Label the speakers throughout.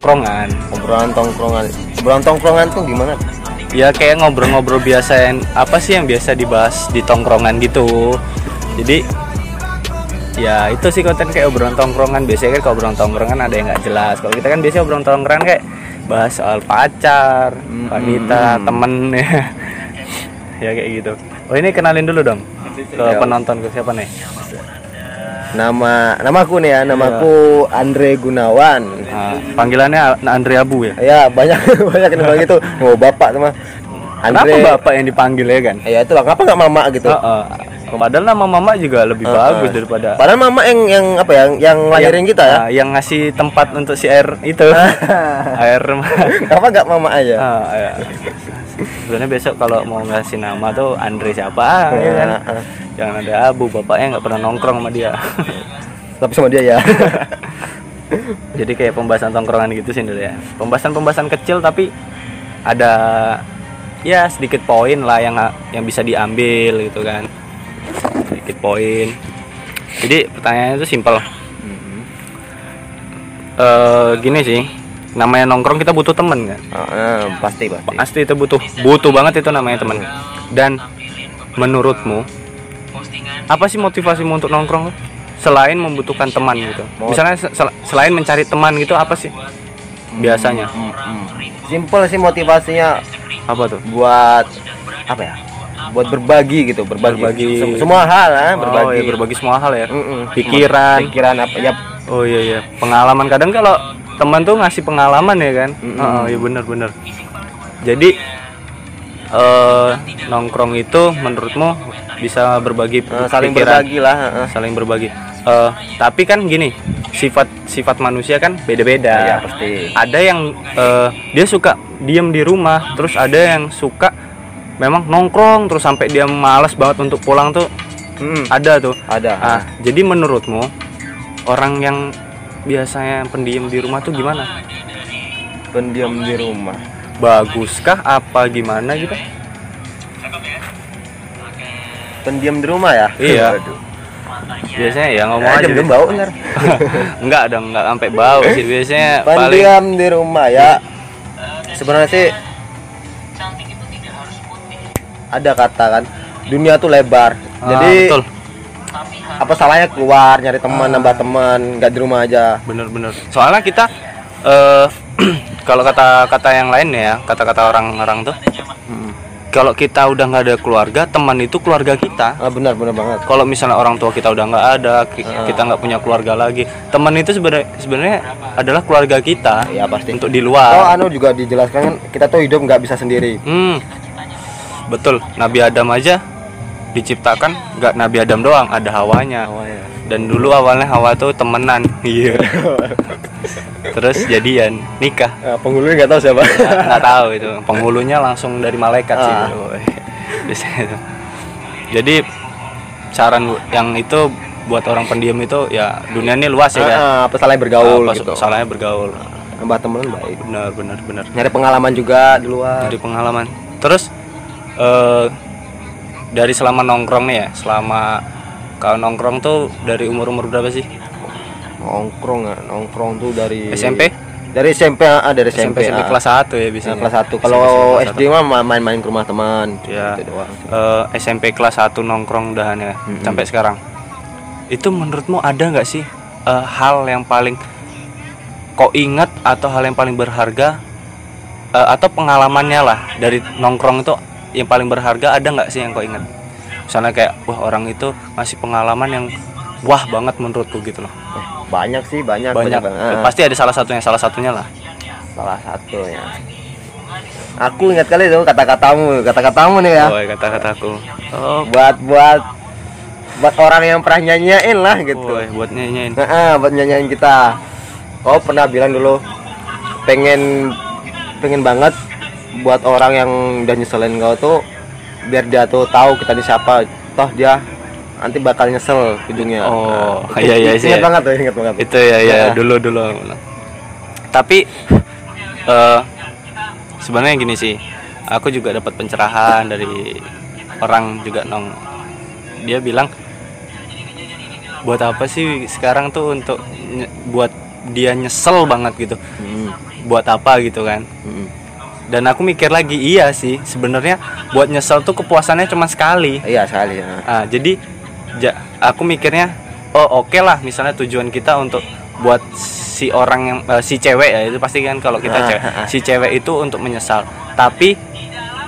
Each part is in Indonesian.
Speaker 1: tongkrongan
Speaker 2: obrolan tongkrongan obrolan tongkrongan tuh gimana
Speaker 1: ya kayak ngobrol-ngobrol biasa yang apa sih yang biasa dibahas di tongkrongan gitu jadi ya itu sih konten kayak obrolan tongkrongan biasanya kan kalau obrolan tongkrongan ada yang nggak jelas kalau kita kan biasanya obrolan tongkrongan kayak bahas soal pacar wanita temen ya ya kayak gitu oh ini kenalin dulu dong ke penonton ke siapa nih
Speaker 2: nama namaku nih ya
Speaker 1: Iya.
Speaker 2: namaku Andre Gunawan
Speaker 1: Ah, panggilannya Andre Abu ya
Speaker 2: ya banyak banyak yang bilang gitu mau bapak sama
Speaker 1: kenapa
Speaker 2: Andre
Speaker 1: bapak yang dipanggil ya kan
Speaker 2: ya itu lah, kenapa nggak mama gitu
Speaker 1: Oh, oh. padahal nama mama juga lebih bagus daripada
Speaker 2: padahal mama yang yang apa ya, yang yang lahirin kita ya
Speaker 1: Ah, yang ngasih tempat untuk si air itu air
Speaker 2: kenapa nggak mama aja
Speaker 1: Ah, ya. sebenarnya besok kalau mau ngasih nama tuh Andre siapa ya kan
Speaker 2: Ah.
Speaker 1: jangan ada abu bapaknya nggak pernah nongkrong sama dia
Speaker 2: tapi sama dia ya
Speaker 1: jadi kayak pembahasan tongkrongan gitu sih dulu ya pembahasan pembahasan kecil tapi ada ya sedikit poin lah yang yang bisa diambil gitu kan sedikit poin jadi pertanyaannya itu simpel Eh, gini sih namanya nongkrong kita butuh temen kan
Speaker 2: Ah, ah, pasti pasti
Speaker 1: pasti itu butuh butuh banget itu namanya temen dan menurutmu apa sih motivasimu untuk nongkrong selain membutuhkan teman gitu misalnya se- sel- selain mencari teman gitu apa sih biasanya
Speaker 2: simple sih motivasinya
Speaker 1: apa tuh
Speaker 2: buat apa ya buat berbagi gitu berbagi,
Speaker 1: Berbagi.
Speaker 2: Sem- semua hal
Speaker 1: berbagi
Speaker 2: ah, berbagi
Speaker 1: Oh, iya, berbagi semua hal ya
Speaker 2: Mm-mm.
Speaker 1: pikiran
Speaker 2: pikiran apa ya
Speaker 1: oh iya iya pengalaman kadang kalau teman tuh ngasih pengalaman ya kan oh iya bener bener jadi eh nongkrong itu menurutmu bisa berbagi
Speaker 2: eh, saling
Speaker 1: pikiran
Speaker 2: berbagi lah ah, ah.
Speaker 1: saling berbagi. Eh, tapi kan gini, sifat sifat manusia kan
Speaker 2: Iya,
Speaker 1: beda-beda.
Speaker 2: pasti.
Speaker 1: Ada yang eh, dia suka diem di rumah, terus ada yang suka memang nongkrong terus sampai dia malas banget untuk pulang tuh
Speaker 2: Mm,
Speaker 1: ada tuh.
Speaker 2: ada
Speaker 1: Hmm. Ah, jadi menurutmu orang yang biasanya pendiam di rumah tuh gimana?
Speaker 2: pendiam di rumah
Speaker 1: Baguskah apa gimana gitu?
Speaker 2: pendiam di rumah ya
Speaker 1: Iya.
Speaker 2: Aduh.
Speaker 1: Biasanya ya ngomong
Speaker 2: Ah,
Speaker 1: aja.
Speaker 2: jam-jam
Speaker 1: deh.
Speaker 2: bau ntar
Speaker 1: enggak dong, enggak sampai bau sih biasanya paling
Speaker 2: pendiam di rumah ya sebenarnya sih ada kata kan dunia tuh lebar
Speaker 1: Ah,
Speaker 2: jadi
Speaker 1: betul. Ah.
Speaker 2: apa salahnya keluar nyari teman nambah teman nggak di rumah aja
Speaker 1: bener-bener soalnya kita eh kalau kata kata yang lain ya kata-kata orang-orang tuh kalau kita udah nggak ada keluarga teman itu keluarga kita
Speaker 2: ah, benar benar banget
Speaker 1: kalau misalnya orang tua kita udah nggak ada ki- kita nggak punya keluarga lagi teman itu sebenarnya sebenarnya adalah keluarga kita
Speaker 2: ya pasti
Speaker 1: untuk di
Speaker 2: Oh,
Speaker 1: luar
Speaker 2: anu juga dijelaskan kan kita tuh hidup nggak bisa sendiri.
Speaker 1: hmm, betul Nabi Adam aja diciptakan nggak Nabi Adam doang ada hawanya dan dulu awalnya hawa tuh temenan iya terus jadian nikah
Speaker 2: Nah, penghulunya nggak tahu siapa.
Speaker 1: Ah, nggak tahu itu penghulunya langsung dari malaikat sih
Speaker 2: Ah.
Speaker 1: Woy. biasanya itu jadi saran gua- yang itu buat orang pendiam itu ya dunia ini luas ya kan
Speaker 2: Ah, apa salahnya bergaul
Speaker 1: Apa
Speaker 2: gitu.
Speaker 1: salahnya bergaul
Speaker 2: Nambah teman baik.
Speaker 1: benar benar benar
Speaker 2: Nyari pengalaman juga di luar.
Speaker 1: dari pengalaman terus eh, dari selama nongkrong nih ya selama kalau nongkrong tuh dari umur umur berapa sih
Speaker 2: Nongkrong, ah, nongkrong tuh dari
Speaker 1: SMP?
Speaker 2: Dari SMP, ah dari SMP,
Speaker 1: SMP,
Speaker 2: ah.
Speaker 1: kelas 1 ya
Speaker 2: Nah,
Speaker 1: biasanya
Speaker 2: kelas 1.
Speaker 1: SMP,
Speaker 2: Kalau
Speaker 1: kelas
Speaker 2: SD mah main-main ke rumah teman.
Speaker 1: ya
Speaker 2: Gitu doang.
Speaker 1: eh, SMP kelas 1 nongkrong udahan ya sampai sekarang itu menurutmu ada nggak sih eh, hal yang paling kok ingat atau hal yang paling berharga eh, atau pengalamannya lah dari nongkrong itu yang paling berharga ada nggak sih yang kau ingat misalnya kayak wah orang itu ngasih pengalaman yang wah banget menurutku gitu loh
Speaker 2: Eh, banyak sih, banyak
Speaker 1: banyak
Speaker 2: banget. Ah,
Speaker 1: pasti ada salah satunya salah satunya lah
Speaker 2: salah satu ya. Aku ingat kali tuh kata-katamu, kata-katamu nih ya.
Speaker 1: oh kata-kataku oh
Speaker 2: Buat buat buat orang yang pernah nyanyiin lah gitu.
Speaker 1: boy, buat nyanyiin
Speaker 2: Nah, ah, buat nyanyiin kita. Kau pernah bilang dulu pengen pengen banget buat orang yang udah nyeselin kau tuh biar dia tuh tahu kita ini siapa. Toh dia nanti bakal nyesel ujungnya.
Speaker 1: Oh,
Speaker 2: Nah,
Speaker 1: iya, iya,
Speaker 2: itu
Speaker 1: iya.
Speaker 2: Ingat banget tuh, ingat banget.
Speaker 1: itu ya ya dulu dulu tapi eh sebenarnya gini sih aku juga dapat pencerahan dari orang juga nong dia bilang buat apa sih sekarang tuh untuk nye- buat dia nyesel banget gitu
Speaker 2: Mm,
Speaker 1: buat apa gitu kan
Speaker 2: mm.
Speaker 1: dan aku mikir lagi iya sih sebenarnya buat nyesel tuh kepuasannya cuma sekali
Speaker 2: Iya sekali. ya.
Speaker 1: Ah, jadi ja- aku mikirnya oh oke lah misalnya tujuan kita untuk buat si orang yang eh, si cewek ya itu pasti kan kalau kita
Speaker 2: Ah,
Speaker 1: cewek,
Speaker 2: ah, ah.
Speaker 1: si cewek itu untuk menyesal tapi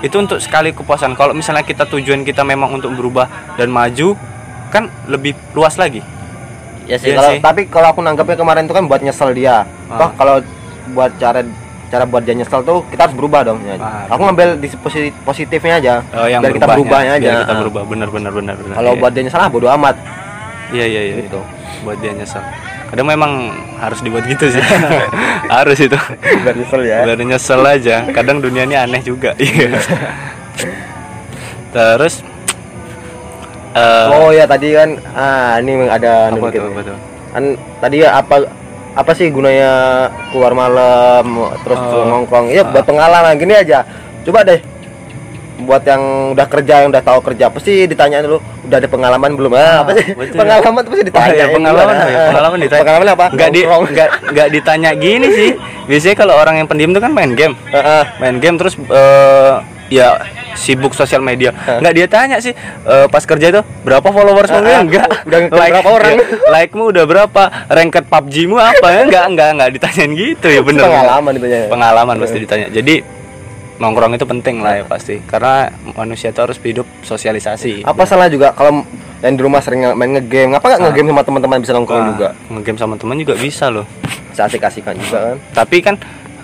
Speaker 1: itu untuk sekali kepuasan kalau misalnya kita tujuan kita memang untuk berubah dan maju kan lebih luas lagi
Speaker 2: Ya sih.
Speaker 1: Iya
Speaker 2: kalau
Speaker 1: sih.
Speaker 2: tapi kalau aku nangkepnya kemarin tuh kan buat nyesel dia.
Speaker 1: Ah.
Speaker 2: Toh kalau buat cara cara buat dia nyesel tuh kita harus berubah dong. ya.
Speaker 1: Ah,
Speaker 2: aku ngambil di posi- positifnya aja.
Speaker 1: Eh, yang
Speaker 2: biar kita berubahnya aja.
Speaker 1: biar kita
Speaker 2: Ah.
Speaker 1: berubah benar benar benar benar.
Speaker 2: Kalau
Speaker 1: Iya.
Speaker 2: buat dia nyesel ah bodo amat
Speaker 1: iya iya iya
Speaker 2: gitu.
Speaker 1: buat dia nyesel kadang memang harus dibuat gitu sih harus itu
Speaker 2: Biar nyesel ya.
Speaker 1: Baru nyesel aja. Kadang dunia ini aneh juga. Iya. Terus eh,
Speaker 2: Oh ya tadi kan ah ini ada
Speaker 1: apa
Speaker 2: dikit.
Speaker 1: tuh? Apa tuh?
Speaker 2: Kan tadi ya apa apa sih gunanya keluar malam terus
Speaker 1: Oh.
Speaker 2: nongkrong? Ya buat pengalaman gini aja. Coba deh buat yang udah kerja yang udah tahu kerja pasti ditanyain dulu udah ada pengalaman belum ah, apa sih
Speaker 1: betul.
Speaker 2: pengalaman tuh pasti
Speaker 1: Wah,
Speaker 2: ditanya Ah,
Speaker 1: ya, pengalaman, ya, pengalaman ditanya.
Speaker 2: pengalaman apa
Speaker 1: Nggak di,
Speaker 2: Nongkrong.
Speaker 1: nggak, nggak ditanya gini sih. Biasanya kalau orang yang pendiam tuh kan main game,
Speaker 2: Heeh.
Speaker 1: main game terus eh, ya sibuk sosial media. Nggak dia tanya sih eh, pas kerja itu berapa followers kamu?
Speaker 2: Ah, ah,
Speaker 1: Enggak. ya,
Speaker 2: udah ngikutin berapa orang?
Speaker 1: like-mu udah berapa? Ranked PUBG-mu apa? Ya, Enggak, enggak, enggak ditanyain gitu ya bener.
Speaker 2: pengalaman ditanya
Speaker 1: pengalaman pasti
Speaker 2: Iya.
Speaker 1: ditanya jadi nongkrong itu penting lah ya pasti karena manusia itu harus hidup sosialisasi
Speaker 2: apa salah juga kalau yang di rumah sering main ngegame apa
Speaker 1: Ah.
Speaker 2: nggak ngegame sama teman-teman bisa nongkrong
Speaker 1: Nah,
Speaker 2: juga
Speaker 1: ngegame sama teman juga bisa loh
Speaker 2: bisa asik-asikan juga kan
Speaker 1: tapi kan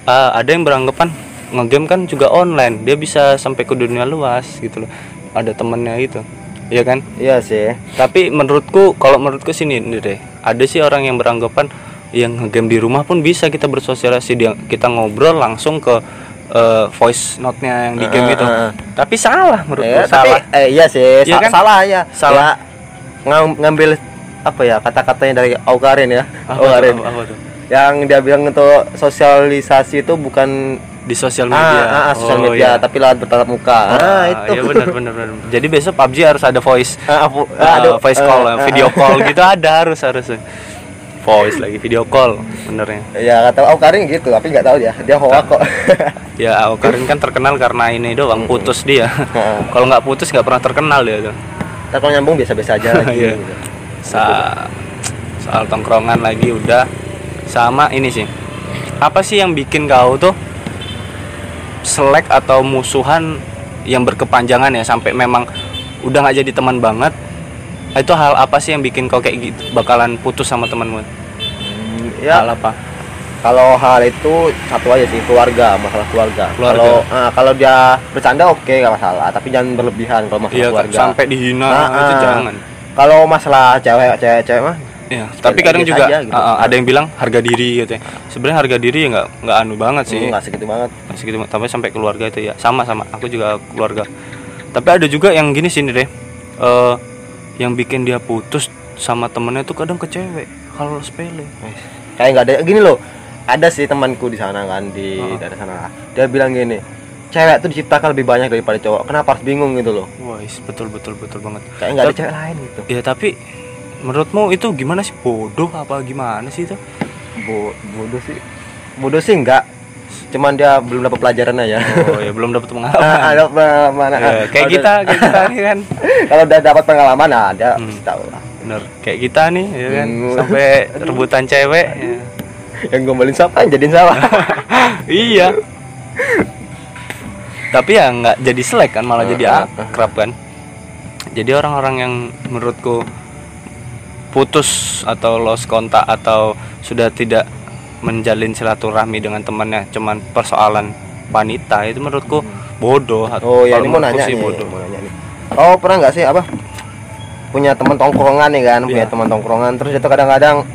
Speaker 1: eh, ada yang beranggapan ngegame kan juga online dia bisa sampai ke dunia luas gitu loh ada temennya gitu ya kan
Speaker 2: iya sih
Speaker 1: tapi menurutku kalau menurutku sini nih deh ada sih orang yang beranggapan yang ngegame di rumah pun bisa kita bersosialisasi dia kita ngobrol langsung ke eh, voice note-nya yang di game
Speaker 2: Heeh,
Speaker 1: itu
Speaker 2: heeh.
Speaker 1: tapi salah menurutku
Speaker 2: Ya, tapi
Speaker 1: salah
Speaker 2: eh, iya sih,
Speaker 1: Iya
Speaker 2: sa-
Speaker 1: kan?
Speaker 2: salah ya.
Speaker 1: Salah.
Speaker 2: Ya, ngam- ngambil apa ya kata-katanya dari Aukarin ya.
Speaker 1: Apa tuh,
Speaker 2: Aukarin.
Speaker 1: apa- apa tuh?
Speaker 2: Yang dia bilang itu sosialisasi itu bukan
Speaker 1: di sosial media.
Speaker 2: ah, ah, ah, sosial
Speaker 1: Oh,
Speaker 2: media,
Speaker 1: iya.
Speaker 2: tapi lewat bertatap muka. Ah, itu.
Speaker 1: Iya benar benar benar. Jadi besok PUBG harus ada voice
Speaker 2: Ah, apa- ah,
Speaker 1: eh,
Speaker 2: aduh,
Speaker 1: voice
Speaker 2: eh,
Speaker 1: call,
Speaker 2: ah,
Speaker 1: eh, video call gitu ada harus harus. Voice lagi video call benernya.
Speaker 2: Ya kata Aukarin gitu, tapi nggak tahu ya. Dia hoak kok.
Speaker 1: Ya Karin kan terkenal karena ini doang putus dia.
Speaker 2: Ah.
Speaker 1: Kalau nggak putus nggak pernah terkenal dia tuh.
Speaker 2: Ntar kalau nyambung biasa-biasa aja lagi. gitu.
Speaker 1: Iya. Sa- soal tongkrongan lagi udah sama ini sih. Apa sih yang bikin kau tuh selek atau musuhan yang berkepanjangan ya sampai memang udah nggak jadi teman banget? Itu hal apa sih yang bikin kau kayak gitu bakalan putus sama temanmu?
Speaker 2: Hmm, ya
Speaker 1: Hal apa?
Speaker 2: kalau hal itu satu aja sih keluarga masalah keluarga.
Speaker 1: Keluarga.
Speaker 2: Kalau ah, kalau dia bercanda oke nggak masalah, tapi jangan berlebihan kalau masalah
Speaker 1: Iya
Speaker 2: keluarga.
Speaker 1: sampai dihina
Speaker 2: Ah,
Speaker 1: itu
Speaker 2: ah.
Speaker 1: jangan.
Speaker 2: Kalau masalah cewek cewek cewek mah
Speaker 1: Iya, tapi
Speaker 2: Biasa
Speaker 1: kadang juga
Speaker 2: aja gitu.
Speaker 1: ah, ah, ada yang bilang harga diri gitu ya. Sebenarnya harga diri ya nggak nggak anu banget sih.
Speaker 2: sih nggak segitu banget.
Speaker 1: masih gitu tapi sampai keluarga itu ya sama sama aku juga keluarga tapi ada juga yang gini sini deh Eh, yang bikin dia putus sama temennya tuh kadang ke cewek kalau sepele
Speaker 2: Kayak nggak ada gini loh. Ada sih temanku di sana kan di
Speaker 1: Ah.
Speaker 2: daerah sana. Dia bilang gini, cewek tuh diciptakan lebih banyak daripada cowok. Kenapa harus bingung gitu loh?
Speaker 1: wah is- betul betul betul banget
Speaker 2: Kayak nggak ada
Speaker 1: Tapi-
Speaker 2: cewek lain gitu.
Speaker 1: ya tapi menurutmu itu gimana sih bodoh apa gimana sih itu
Speaker 2: Bo- bodoh sih. Bodoh sih enggak. Cuman dia belum dapat pelajaran aja.
Speaker 1: oh ya belum dapat pengalaman
Speaker 2: Ah, ada pengalaman.
Speaker 1: Ya, kayak
Speaker 2: Kalau
Speaker 1: kita
Speaker 2: udah-
Speaker 1: kayak kita nih kan
Speaker 2: Kalau udah dapat pengalaman nah, ada
Speaker 1: Hmm.
Speaker 2: pasti tahu lah.
Speaker 1: bener kayak kita nih ya kan
Speaker 2: Hmm.
Speaker 1: sampai rebutan cewek ya.
Speaker 2: Yang gombalin siapa yang jadiin salah.
Speaker 1: iya tapi ya nggak jadi selek kan malah
Speaker 2: Eh,
Speaker 1: jadi akrab kan jadi orang-orang yang menurutku putus atau lost kontak atau sudah tidak menjalin silaturahmi dengan temannya cuman persoalan wanita itu menurutku bodoh
Speaker 2: Oh ya
Speaker 1: Kalau
Speaker 2: ini mau
Speaker 1: menurutku
Speaker 2: nanya
Speaker 1: sih
Speaker 2: nih,
Speaker 1: bodoh
Speaker 2: mau nanya nih. Oh pernah nggak sih apa punya teman tongkrongan nih kan, punya
Speaker 1: Iya.
Speaker 2: teman tongkrongan terus itu kadang-kadang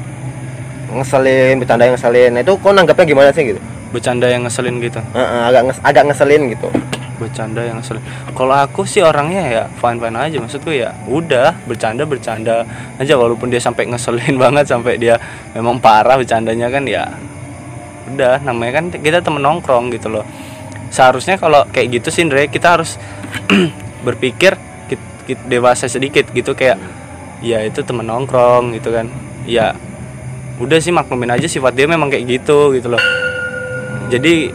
Speaker 2: ngeselin, bercanda yang ngeselin. Nah, itu kok nanggapnya gimana sih gitu?
Speaker 1: bercanda yang ngeselin gitu
Speaker 2: Heeh, agak nges- agak ngeselin gitu.
Speaker 1: bercanda yang ngeselin kalau aku sih orangnya ya fine fine aja maksudku ya udah bercanda bercanda aja walaupun dia sampai ngeselin banget sampai dia memang parah bercandanya kan ya udah namanya kan kita temen nongkrong gitu loh seharusnya kalau kayak gitu sih Ndre kita harus berpikir kit- kit- dewasa sedikit gitu kayak ya itu temen nongkrong gitu kan ya udah sih maklumin aja sifat dia memang kayak gitu gitu loh jadi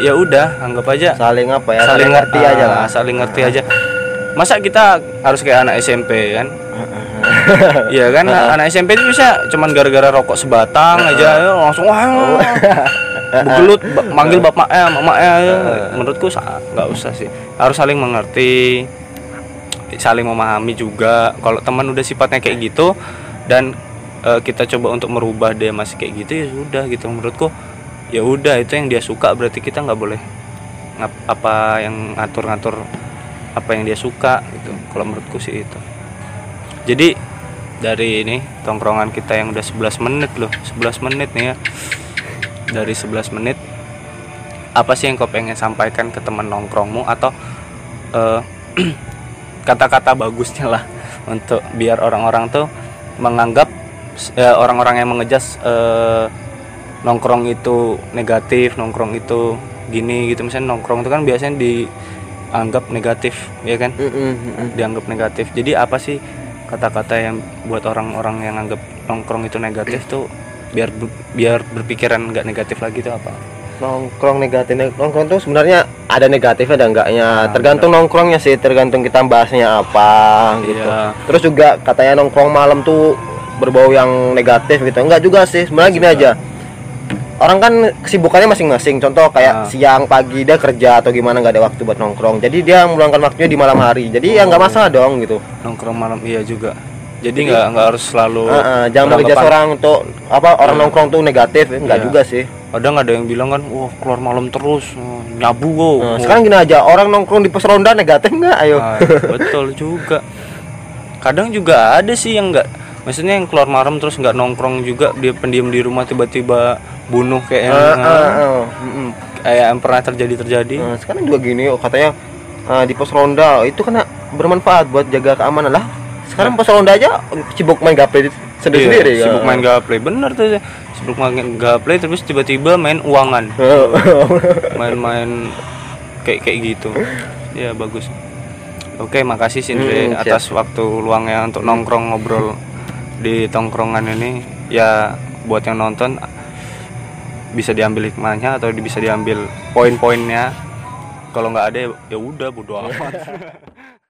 Speaker 1: ya udah anggap aja
Speaker 2: saling apa ya saling, ngerti aja
Speaker 1: ah,
Speaker 2: lah
Speaker 1: saling ngerti aja masa kita harus kayak anak SMP kan Iya kan anak SMP itu bisa cuman gara-gara rokok sebatang aja ya, langsung wah begelut ba- manggil bapak eh mama eh ya. menurutku sa- nggak usah sih harus saling mengerti saling memahami juga kalau teman udah sifatnya kayak gitu dan eh, kita coba untuk merubah dia masih kayak gitu ya sudah gitu menurutku ya udah itu yang dia suka berarti kita nggak boleh ngap- apa yang ngatur-ngatur apa yang dia suka gitu kalau menurutku sih itu jadi dari ini tongkrongan kita yang udah 11 menit loh 11 menit nih ya dari 11 menit apa sih yang kau pengen sampaikan ke teman nongkrongmu atau eh, kata-kata bagusnya lah untuk biar orang-orang tuh menganggap eh, orang-orang yang mengejas eh, nongkrong itu negatif nongkrong itu gini gitu misalnya nongkrong itu kan biasanya dianggap negatif ya kan
Speaker 2: Mm-mm, mm-mm.
Speaker 1: dianggap negatif. Jadi apa sih kata-kata yang buat orang-orang yang anggap nongkrong itu negatif tuh biar ber- biar berpikiran nggak negatif lagi itu apa?
Speaker 2: nongkrong negatif nongkrong tuh sebenarnya ada negatifnya ada enggaknya
Speaker 1: Ah,
Speaker 2: tergantung nongkrongnya sih tergantung kita bahasnya apa gitu
Speaker 1: Iya.
Speaker 2: terus juga katanya nongkrong malam tuh berbau yang negatif gitu enggak juga sih sebenarnya gini aja orang kan kesibukannya masing-masing contoh
Speaker 1: Ah.
Speaker 2: kayak siang pagi dia kerja atau gimana nggak ada waktu buat nongkrong jadi dia meluangkan waktunya di malam hari jadi ya
Speaker 1: Oh.
Speaker 2: nggak masalah dong gitu
Speaker 1: Nongkrong malam iya juga. Jadi nggak nggak harus selalu.
Speaker 2: Ah, ah, jangan bekerja
Speaker 1: beranggapan-
Speaker 2: seorang untuk apa orang nongkrong tuh negatif enggak
Speaker 1: Ah. Iya.
Speaker 2: juga sih
Speaker 1: Kadang ada yang bilang kan, wah keluar malam terus oh, nyabu kok.
Speaker 2: Nah,
Speaker 1: Oh.
Speaker 2: sekarang gini aja orang nongkrong di pos ronda negatif nggak ayo
Speaker 1: Ah, betul juga. Kadang juga ada sih yang nggak, maksudnya yang keluar malam terus nggak nongkrong juga dia pendiam di rumah tiba-tiba bunuh kayak yang,
Speaker 2: Ah, ah, ah.
Speaker 1: kayak yang pernah terjadi terjadi.
Speaker 2: Nah, sekarang juga gini oh, katanya ah, di pos ronda itu kan bermanfaat buat jaga keamanan lah. Sekarang pos ronda aja sibuk main kan? gaple sendiri sendiri
Speaker 1: Iya, sibuk main gameplay bener tuh sibuk main gameplay terus tiba-tiba main uangan
Speaker 2: Oh.
Speaker 1: main-main kayak kayak gitu ya bagus oke makasih Sindre
Speaker 2: Hmm, siap.
Speaker 1: atas waktu luangnya untuk nongkrong ngobrol di tongkrongan ini ya buat yang nonton bisa diambil hikmahnya atau di- bisa diambil poin-poinnya kalau nggak ada ya- ya udah bodo amat